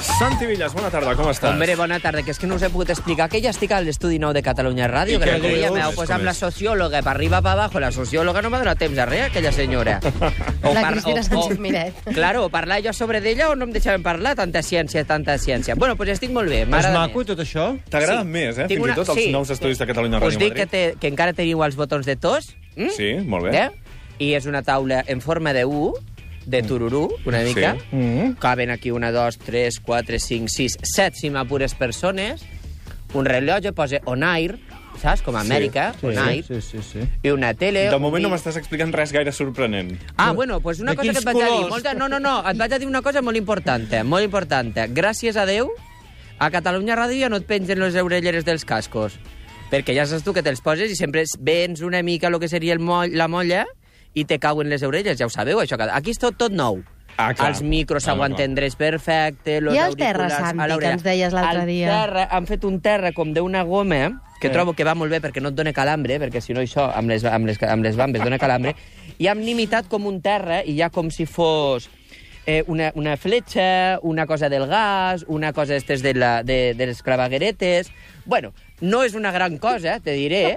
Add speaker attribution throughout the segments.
Speaker 1: Santi Villas, bona tarda, com estàs?
Speaker 2: Hombre, bona tarda, que és que no us he pogut explicar que ja estic a l'Estudi Nou de Catalunya
Speaker 1: I
Speaker 2: Ràdio, que
Speaker 1: què
Speaker 2: l'altre dia
Speaker 1: dius?
Speaker 2: m'heu posat amb la sociòloga per arriba per abajo, la sociòloga no m'ha donat temps a res, aquella senyora. O
Speaker 3: La Cristina Sánchez Miret.
Speaker 2: Claro, o parlar jo sobre d'ella o no em deixaven parlar, tanta ciència, tanta ciència. Bueno, doncs estic molt bé,
Speaker 4: És
Speaker 2: m'agrada
Speaker 4: maco
Speaker 2: més.
Speaker 4: tot això?
Speaker 1: T'agrada
Speaker 2: Sí.
Speaker 1: més, eh?
Speaker 2: Tinc
Speaker 1: Fins
Speaker 2: una-
Speaker 1: i tot els
Speaker 2: sí.
Speaker 1: nous estudis de Catalunya
Speaker 2: Us
Speaker 1: Ràdio
Speaker 2: dic que,
Speaker 1: Madrid.
Speaker 2: té, que encara teniu els botons de tos, mm?
Speaker 1: Sí, molt bé.
Speaker 2: eh? i és una taula en forma de U, de tururú, una
Speaker 1: Sí.
Speaker 2: mica. Caben aquí una, dos, tres, quatre, cinc, sis, set, si m'apures, persones. Un rellotge posa on air, saps? Com a
Speaker 1: Sí,
Speaker 2: Amèrica, sí, on air.
Speaker 4: sí, sí, sí.
Speaker 2: I una tele...
Speaker 1: De
Speaker 2: eh, un
Speaker 1: moment no
Speaker 2: vi-
Speaker 1: m'estàs explicant res gaire sorprenent.
Speaker 2: Ah, bueno, pues una
Speaker 4: De
Speaker 2: cosa que et
Speaker 4: quins
Speaker 2: vaig a dir.
Speaker 4: colors?
Speaker 2: Molta... No, no, no, et vaig a dir una cosa molt important, eh, molt important. Gràcies a Déu, a Catalunya Ràdio ja no et pengen les orelleres dels cascos, perquè ja saps tu que te'ls poses i sempre es- vens una mica el que seria el moll, la molla i te cauen les orelles, ja ho sabeu, això. que- Aquí és tot, tot nou.
Speaker 1: Ah, clar.
Speaker 2: Els micros
Speaker 1: Ah,
Speaker 2: s'aguanten drets perfecte, los
Speaker 3: I el terra,
Speaker 2: auriculars
Speaker 3: Santi,
Speaker 2: a l'orella.
Speaker 3: que ens deies l'altre
Speaker 2: El
Speaker 3: dia?
Speaker 2: Terra, han fet un terra com d'una goma, que
Speaker 4: Sí.
Speaker 2: trobo que va molt bé perquè no et dona calambre, perquè si no això amb les, amb les, amb les bambes dona calambre, i han limitat com un terra i ja com si fos eh, una, una fletxa, una cosa del gas, una cosa estes de, la, de, de les clavagueretes... Bueno, no és una gran cosa, te diré,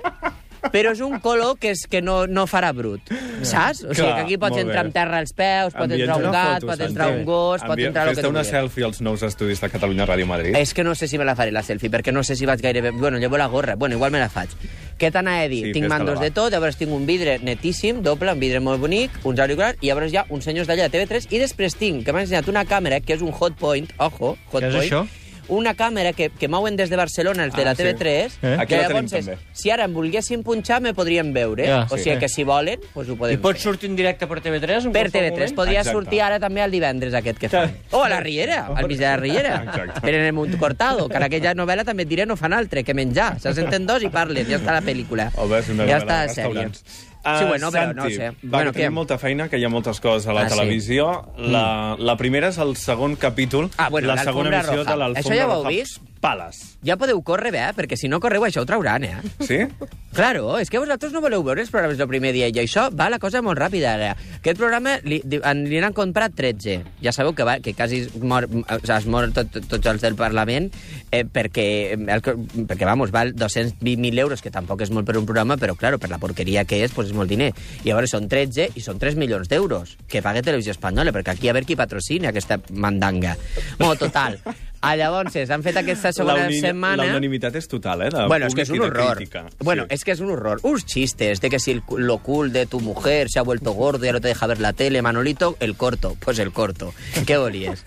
Speaker 2: però és un color que, és, que no, no farà brut, saps? O sigui,
Speaker 1: Clar,
Speaker 2: que aquí
Speaker 1: molt
Speaker 2: pots
Speaker 1: bé.
Speaker 2: entrar amb terra als peus, pot
Speaker 1: Envia'ns
Speaker 2: entrar un
Speaker 1: una
Speaker 2: gat,
Speaker 1: foto,
Speaker 2: pot
Speaker 1: Santi.
Speaker 2: entrar un gos, pot
Speaker 1: Envia-
Speaker 2: entrar el que
Speaker 1: Fes-te
Speaker 2: tu
Speaker 1: una
Speaker 2: vulguis. Eh,
Speaker 1: selfie als nous estudis de Catalunya Ràdio Madrid.
Speaker 2: És que no sé si me la faré, la selfie, perquè no sé si vaig gairebé... Bueno, llevo la gorra, bueno, igual me la faig. Què t'anava a dir?
Speaker 1: Sí,
Speaker 2: tinc
Speaker 1: fes-te-la,
Speaker 2: mandos
Speaker 1: va.
Speaker 2: de tot, llavors tinc un vidre netíssim, doble, un vidre molt bonic, uns auriculars, i llavors hi ha uns senyors d'allà de TV3, i després tinc, que m'han ensenyat una càmera, que és un hot point, ojo, hot
Speaker 4: Què és
Speaker 2: point,
Speaker 4: això?
Speaker 2: una càmera que, que mouen des de Barcelona els de
Speaker 1: Ah,
Speaker 2: la TV3,
Speaker 1: sí. Eh? Aquí
Speaker 2: que
Speaker 1: la
Speaker 2: llavors,
Speaker 1: tenim,
Speaker 2: és,
Speaker 1: també.
Speaker 2: si ara em volguessin punxar, me podrien veure.
Speaker 4: Ja,
Speaker 2: o
Speaker 4: sí.
Speaker 2: sigui que si volen, doncs ho podem
Speaker 4: I pot
Speaker 2: fer.
Speaker 4: sortir en directe per TV3? en
Speaker 2: Per
Speaker 4: qualsevol
Speaker 2: TV3.
Speaker 4: moment?
Speaker 2: Podria
Speaker 1: Exacte.
Speaker 2: sortir ara també el divendres aquest que fan. O a la Riera, al mig de la Riera.
Speaker 1: Exacte.
Speaker 2: Tenen el munt cortado, que en aquella novel·la també et diré no fan altre, que menjar. Se senten dos i parlen, ja està la pel·lícula.
Speaker 1: O bé, és una
Speaker 2: ja
Speaker 1: novel·la
Speaker 2: està
Speaker 1: de
Speaker 2: la sèrie.
Speaker 1: restaurants. Ah,
Speaker 2: sí, bueno, però
Speaker 1: Santi,
Speaker 2: no ho sé.
Speaker 1: Va, bueno, que tenim molta feina, que hi ha moltes coses a la
Speaker 2: Ah, sí. Mm.
Speaker 1: televisió. La, la primera és el segon capítol,
Speaker 2: Ah, bueno,
Speaker 1: la segona
Speaker 2: l'Alfombra
Speaker 1: emissió
Speaker 2: Roja.
Speaker 1: de l'Alfombra
Speaker 2: Això ja ho heu
Speaker 1: Roja
Speaker 2: vist?
Speaker 1: Pales.
Speaker 2: Ja podeu córrer bé, eh? perquè si no correu això ho trauran, eh?
Speaker 1: Sí?
Speaker 2: Claro, és que vosaltres no voleu veure els programes del primer dia i això va la cosa molt ràpida ara. Aquest programa li, di- en- li n'han comprat 13. Ja sabeu que, va, que quasi es mor, o sigui, es mor tot, tot- tots els del Parlament eh, perquè, eh, el, co- perquè, vamos, val 220.000 euros, que tampoc és molt per un programa, però, claro, per la porqueria que és, pues és molt diner. I llavors són 13 i són 3 milions d'euros que paga Televisió Espanyola, perquè aquí a veure qui patrocina aquesta mandanga. Bueno, total. Ah, llavors, han fet aquesta segona
Speaker 1: La uni-
Speaker 2: setmana...
Speaker 1: La unanimitat és total, eh? De
Speaker 2: Bueno, es
Speaker 1: públic
Speaker 2: que es un
Speaker 1: i de
Speaker 2: horror.
Speaker 1: Crítica.
Speaker 2: Bueno, es que es un horror. Unos chistes de que si el cu- lo cool de tu mujer se ha vuelto gordo y no te deja ver la tele, Manolito, el corto. Pues el corto. ¿Qué volies?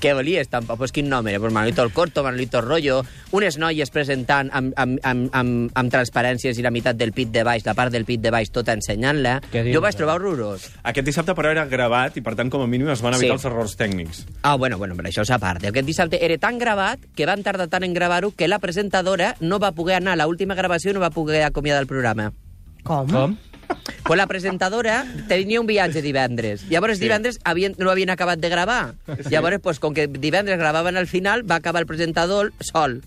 Speaker 2: ¿Qué volies? Tampoco, pues quin nombre? Pues Manolito el corto, Manolito el rollo, unes noies presentant amb, amb, amb, amb, amb transparències i la meitat del pit de baix, la part del pit de baix tota ensenyant-la.
Speaker 4: Què dius,
Speaker 2: Jo ho vaig
Speaker 4: eh?
Speaker 2: trobar horrorós.
Speaker 1: Aquest dissabte, però, era gravat i, per tant, com a mínim es van evitar
Speaker 2: Sí.
Speaker 1: els errors tècnics.
Speaker 2: Ah, bueno, bueno, però això és a part. Aquest dissabte era tan gravat que van tardar tant en gravar-ho que la presentadora no va poder anar a l'última gravació i no va poder acomiadar el programa.
Speaker 3: Com?
Speaker 4: Com?
Speaker 2: Pues la presentadora tenia un viatge divendres. Llavors divendres havien, no havien acabat de gravar. Llavors, pues, com que divendres gravaven al final, va acabar el presentador sol.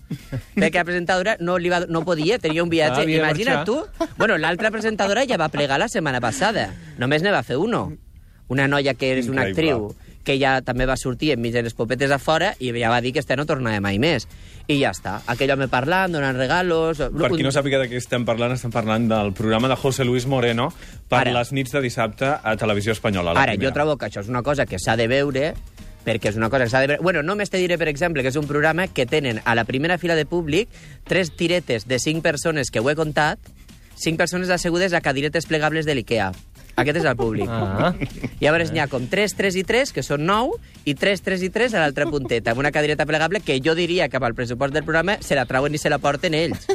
Speaker 2: Perquè la presentadora no, li va, no podia, tenia un viatge.
Speaker 4: Ah, havia de
Speaker 2: Imagina't
Speaker 4: marxar.
Speaker 2: tu. Bueno, l'altra presentadora ja va plegar la setmana passada. Només ne va fer uno. Una noia que és
Speaker 1: Increïble.
Speaker 2: una actriu que ja també va sortir enmig de les popetes a fora i ja va dir que este no tornava mai més. I ja està. Aquell home parlant, donant regalos...
Speaker 1: Per qui no sàpiga de què estem parlant, estem parlant del programa de José Luis Moreno per
Speaker 2: Ara.
Speaker 1: les nits de dissabte a Televisió Espanyola. la
Speaker 2: Ara,
Speaker 1: primera.
Speaker 2: jo trobo que això és una cosa que s'ha de veure perquè és una cosa que s'ha de veure... Bueno, només te diré, per exemple, que és un programa que tenen a la primera fila de públic tres tiretes de cinc persones que ho he contat, cinc persones assegudes a cadiretes plegables de l'IKEA. Aquest és el públic.
Speaker 4: Ah.
Speaker 2: I llavors n'hi ha com 3, 3 i 3, que són 9, i 3, 3 i 3 a l'altra punteta, amb una cadireta plegable que jo diria que pel pressupost del programa se la trauen i se la porten ells.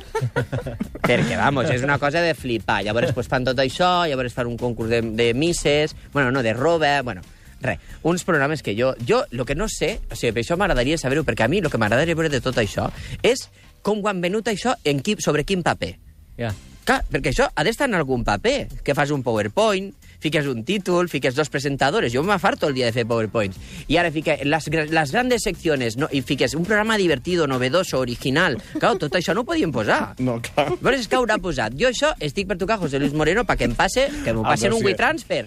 Speaker 2: Perquè, vamos, és una cosa de flipar. Llavors pues, fan tot això, llavors fan un concurs de, de misses, bueno, no, de roba, bueno, res. Uns programes que jo... Jo, el que no sé, o sigui, per això m'agradaria saber-ho, perquè a mi el que m'agradaria veure de tot això és com ho han venut això, en qui, sobre quin paper.
Speaker 4: Ja.
Speaker 2: Clar, perquè això ha d'estar en algun paper, que fas un PowerPoint, fiques un títol, fiques dos presentadores. Jo m'afarto el dia de fer PowerPoints. I ara fiques les, gra- les grandes secciones no? i fiques un programa divertido, novedoso, original. Clar, tot això no ho podien posar.
Speaker 1: No, clar.
Speaker 2: Però és que haurà posat. Jo això estic per tocar José Luis Moreno perquè em passe, que m'ho
Speaker 1: Ah,
Speaker 2: passi en
Speaker 1: però
Speaker 2: un
Speaker 1: sí.
Speaker 2: WeTransfer.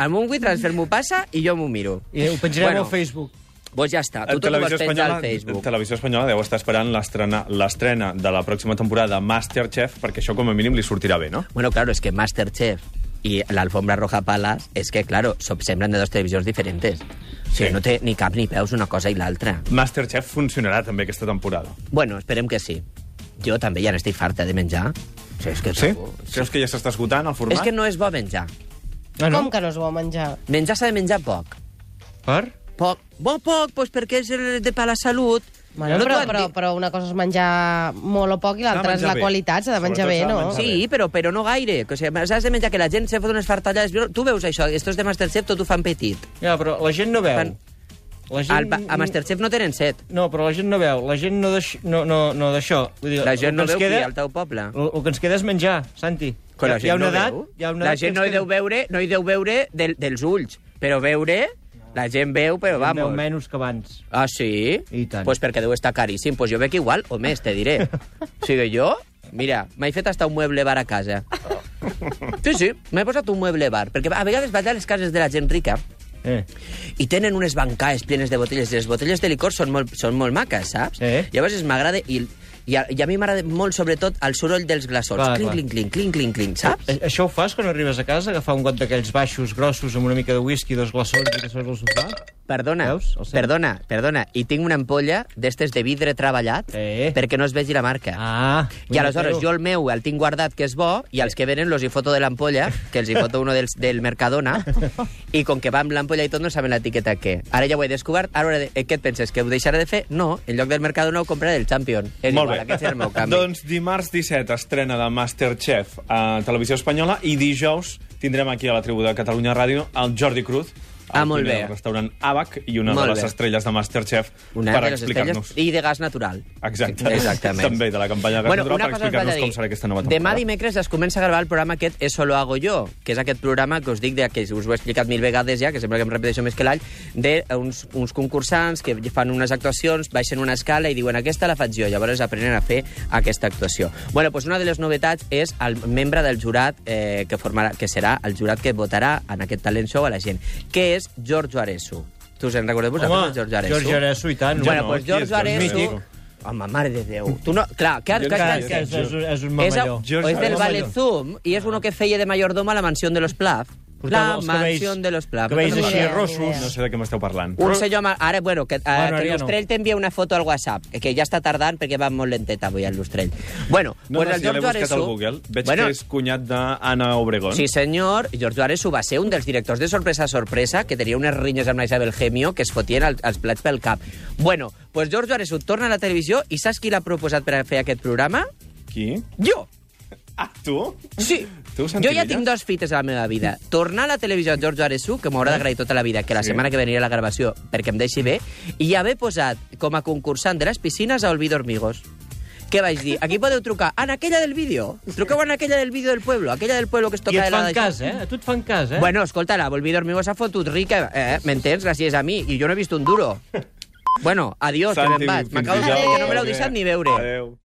Speaker 2: Amb un WeTransfer m'ho passa i jo m'ho miro.
Speaker 4: I ho penjarem bueno. al Facebook.
Speaker 2: Doncs ja està, tu tot ho
Speaker 1: Televisió
Speaker 2: vas penjar al
Speaker 1: Espanyola-
Speaker 2: Facebook.
Speaker 1: Televisió Espanyola deu estar esperant l'estrena l'estrena de la pròxima temporada de Masterchef, perquè això com a mínim li sortirà bé, no?
Speaker 2: Bueno, claro, es que Masterchef y la alfombra roja palas es que, claro, so- semblen de dos televisions diferents. O sigui,
Speaker 1: Sí.
Speaker 2: no té ni cap ni peus una cosa i l'altra.
Speaker 1: Masterchef funcionarà també aquesta temporada.
Speaker 2: Bueno, esperem que sí. Jo també ja n'estic farta de menjar. O sigui, és que
Speaker 1: Sí?
Speaker 2: segur-
Speaker 1: Creus que ja s'està esgotant el format?
Speaker 2: És que no és bo menjar.
Speaker 3: Ah, no? Com que no es vol menjar?
Speaker 2: Menjar s'ha de menjar poc.
Speaker 4: Per?
Speaker 2: Poc. Bo poc, doncs perquè és el de per la salut.
Speaker 3: Bueno,
Speaker 2: No t'ho
Speaker 3: però,
Speaker 2: han
Speaker 3: però,
Speaker 2: dit.
Speaker 3: però una cosa és menjar molt o poc i l'altra és
Speaker 1: menjar
Speaker 3: la
Speaker 1: bé.
Speaker 3: qualitat, s'ha de menjar
Speaker 1: Sobretot
Speaker 3: bé,
Speaker 1: s'ha de
Speaker 3: no?
Speaker 1: menjar
Speaker 2: Sí, però, però no gaire. O sigui, has de menjar que la gent se fot unes fartallades. Tu veus això, estos de Masterchef tot ho fan petit.
Speaker 4: Ja, però la gent no veu.
Speaker 2: Fan-
Speaker 4: La gent...
Speaker 2: Al, a Masterchef no tenen set.
Speaker 4: No, però la gent no veu. La gent no d'aix- no, no, no d'això. Vull dir,
Speaker 2: La
Speaker 4: el
Speaker 2: gent
Speaker 4: que
Speaker 2: no
Speaker 4: ens
Speaker 2: veu
Speaker 4: queda,
Speaker 2: fi al teu poble.
Speaker 4: El, el que ens queda és menjar, Santi.
Speaker 2: Que la
Speaker 4: Hi ha-
Speaker 2: gent
Speaker 4: hi ha una
Speaker 2: no
Speaker 4: edat...
Speaker 2: veu.
Speaker 4: Hi ha una
Speaker 2: la
Speaker 4: edat que
Speaker 2: gent
Speaker 4: ens
Speaker 2: no hi
Speaker 4: queda-
Speaker 2: deu veure, no hi deu veure del, dels ulls, però veure... La gent veu, però
Speaker 4: en veu
Speaker 2: vamos.
Speaker 4: menys que abans.
Speaker 2: Ah, sí?
Speaker 4: I tant.
Speaker 2: Pues perquè deu estar caríssim. Pues jo veig igual o més, te diré. O sigui, jo... Mira, m'he fet hasta un mueble bar a casa. Sí, sí, m'he posat un mueble bar. Perquè a vegades vaig a les cases de la gent rica
Speaker 4: Eh.
Speaker 2: i tenen unes bancaes plenes de botelles. I les botelles de licor són molt, són molt maques, saps?
Speaker 4: Sí.
Speaker 2: Llavors es m'agrada... I, i, a, I a mi m'agrada molt, sobretot, el soroll dels glaçons.
Speaker 4: Clar,
Speaker 2: clinc,
Speaker 4: clar.
Speaker 2: clinc, clinc, clinc, clinc, clinc, saps?
Speaker 4: A- Això ho fas quan arribes a casa, agafar un got d'aquells baixos, grossos, amb una mica de whisky, dos glaçons i t'asseus al sofà?
Speaker 2: Perdona,
Speaker 4: Veus? El centre.
Speaker 2: perdona, perdona. I tinc una ampolla d'estes de vidre treballat
Speaker 4: Sí.
Speaker 2: perquè no es vegi la marca.
Speaker 4: Ah,
Speaker 2: I aleshores jo el meu el tinc guardat, que és bo, i els que venen los hi foto de l'ampolla, que els hi foto uno del, del Mercadona, i com que va amb l'ampolla i tot no saben l'etiqueta què. Ara ja ho he descobert, ara hauré de... eh, què et penses, que ho deixaré de fer? No, en lloc del Mercadona ho compraré del Champion. És
Speaker 1: Molt
Speaker 2: igual,
Speaker 1: bé.
Speaker 2: aquest és el meu canvi.
Speaker 1: doncs dimarts 17 estrena de Masterchef a Televisió Espanyola i dijous tindrem aquí a la tribu de Catalunya Ràdio el Jordi Cruz,
Speaker 2: Ah,
Speaker 1: el
Speaker 2: molt
Speaker 1: cuiner
Speaker 2: bé.
Speaker 1: del restaurant Abac i una
Speaker 2: Molt
Speaker 1: de les
Speaker 2: bé.
Speaker 1: estrelles de Masterchef
Speaker 2: de
Speaker 1: per
Speaker 2: les
Speaker 1: explicar-nos.
Speaker 2: estrelles I de gas natural.
Speaker 1: Exacte.
Speaker 2: Exactament.
Speaker 1: També de la campanya de gas natural
Speaker 2: una
Speaker 1: per
Speaker 2: cosa us
Speaker 1: explicar-nos
Speaker 2: vaig a dir.
Speaker 1: com serà aquesta nova
Speaker 2: Demà
Speaker 1: temporada.
Speaker 2: dimecres es comença a gravar el programa aquest Eso lo hago yo, que és aquest programa que us dic, de, que us ho he explicat mil vegades ja, que sembla que em repeteixo més que l'all, d'uns uns concursants que fan unes actuacions, baixen una escala i diuen aquesta la faig jo, llavors aprenen a fer aquesta actuació. bueno, doncs una de les novetats és el membre del jurat eh, que, formarà, que serà el jurat que votarà en aquest talent show a la gent, que és Giorgio Aresu. Tu us en recordeu vosaltres, de Giorgio Aresu?
Speaker 4: George Aresu, i tant.
Speaker 2: Bueno,
Speaker 1: no,
Speaker 2: pues
Speaker 1: qui és
Speaker 2: George
Speaker 1: Jordi
Speaker 2: Areso...
Speaker 1: Areso?
Speaker 2: Home, mare de Déu. Tu no... Clar, que, que,
Speaker 1: Jo
Speaker 2: que,
Speaker 1: encara
Speaker 2: que,
Speaker 4: que és, és, un- és un
Speaker 2: és, a,
Speaker 4: mamalló.
Speaker 1: George
Speaker 2: o és del
Speaker 1: Areso.
Speaker 2: Valezum i és uno que feia de mayordomo a la mansió de los Plav. La mansió de los Plav.
Speaker 4: Cabells
Speaker 3: No
Speaker 4: així
Speaker 3: idea, ni
Speaker 4: rossos.
Speaker 3: idea.
Speaker 1: No sé de què m'esteu parlant.
Speaker 2: Un senyor... ama- Ara, bueno, que, eh,
Speaker 4: Bueno,
Speaker 2: que
Speaker 4: ja no.
Speaker 2: l'Ustrell t'envia una foto al WhatsApp, que ja està tardant perquè va molt lenteta avui el Ustrell. Bueno,
Speaker 1: No,
Speaker 2: pues
Speaker 1: no,
Speaker 2: el
Speaker 1: si ja l'he
Speaker 2: Giorgio
Speaker 1: buscat
Speaker 2: Areso...
Speaker 1: al Google. Veig
Speaker 2: bueno,
Speaker 1: que és cunyat d'Anna Obregón.
Speaker 2: Sí, senyor. Giorgio Aresu va ser un dels directors de Sorpresa a Sorpresa, que tenia unes rinyes amb la Isabel Gemio que es fotien els, els plats pel cap. Bueno, doncs pues Giorgio Aresu torna a la televisió i saps qui l'ha proposat per a fer aquest programa?
Speaker 1: Qui?
Speaker 2: Jo!
Speaker 1: Ah, tu?
Speaker 2: Sí.
Speaker 1: Tu, Santi
Speaker 2: jo ja
Speaker 1: Villa?
Speaker 2: tinc dos fites a la meva vida. Tornar a la televisió a Giorgio Aresu, que m'haurà d'agrair tota la vida, que la
Speaker 1: Sí.
Speaker 2: setmana que venia la gravació, perquè em deixi bé, i haver posat com a concursant de les piscines a Olvido Hormigos. Què vaig dir? Aquí podeu trucar en aquella del vídeo. Truqueu en aquella del vídeo del pueblo, aquella del pueblo que es toca
Speaker 4: I
Speaker 2: de
Speaker 4: et
Speaker 2: la
Speaker 4: fan
Speaker 2: d'això.
Speaker 4: cas, eh? A tu et fan cas, eh?
Speaker 2: Bueno, escolta, la Volví Dormigo s'ha fotut rica, eh? M'entens? Gràcies a mi. I jo no he vist un duro. Bueno, adiós, que me'n vaig.
Speaker 1: fins
Speaker 2: M'acabo de dir
Speaker 1: dijous.
Speaker 2: que no me l'heu deixat ni veure.
Speaker 1: Adéu.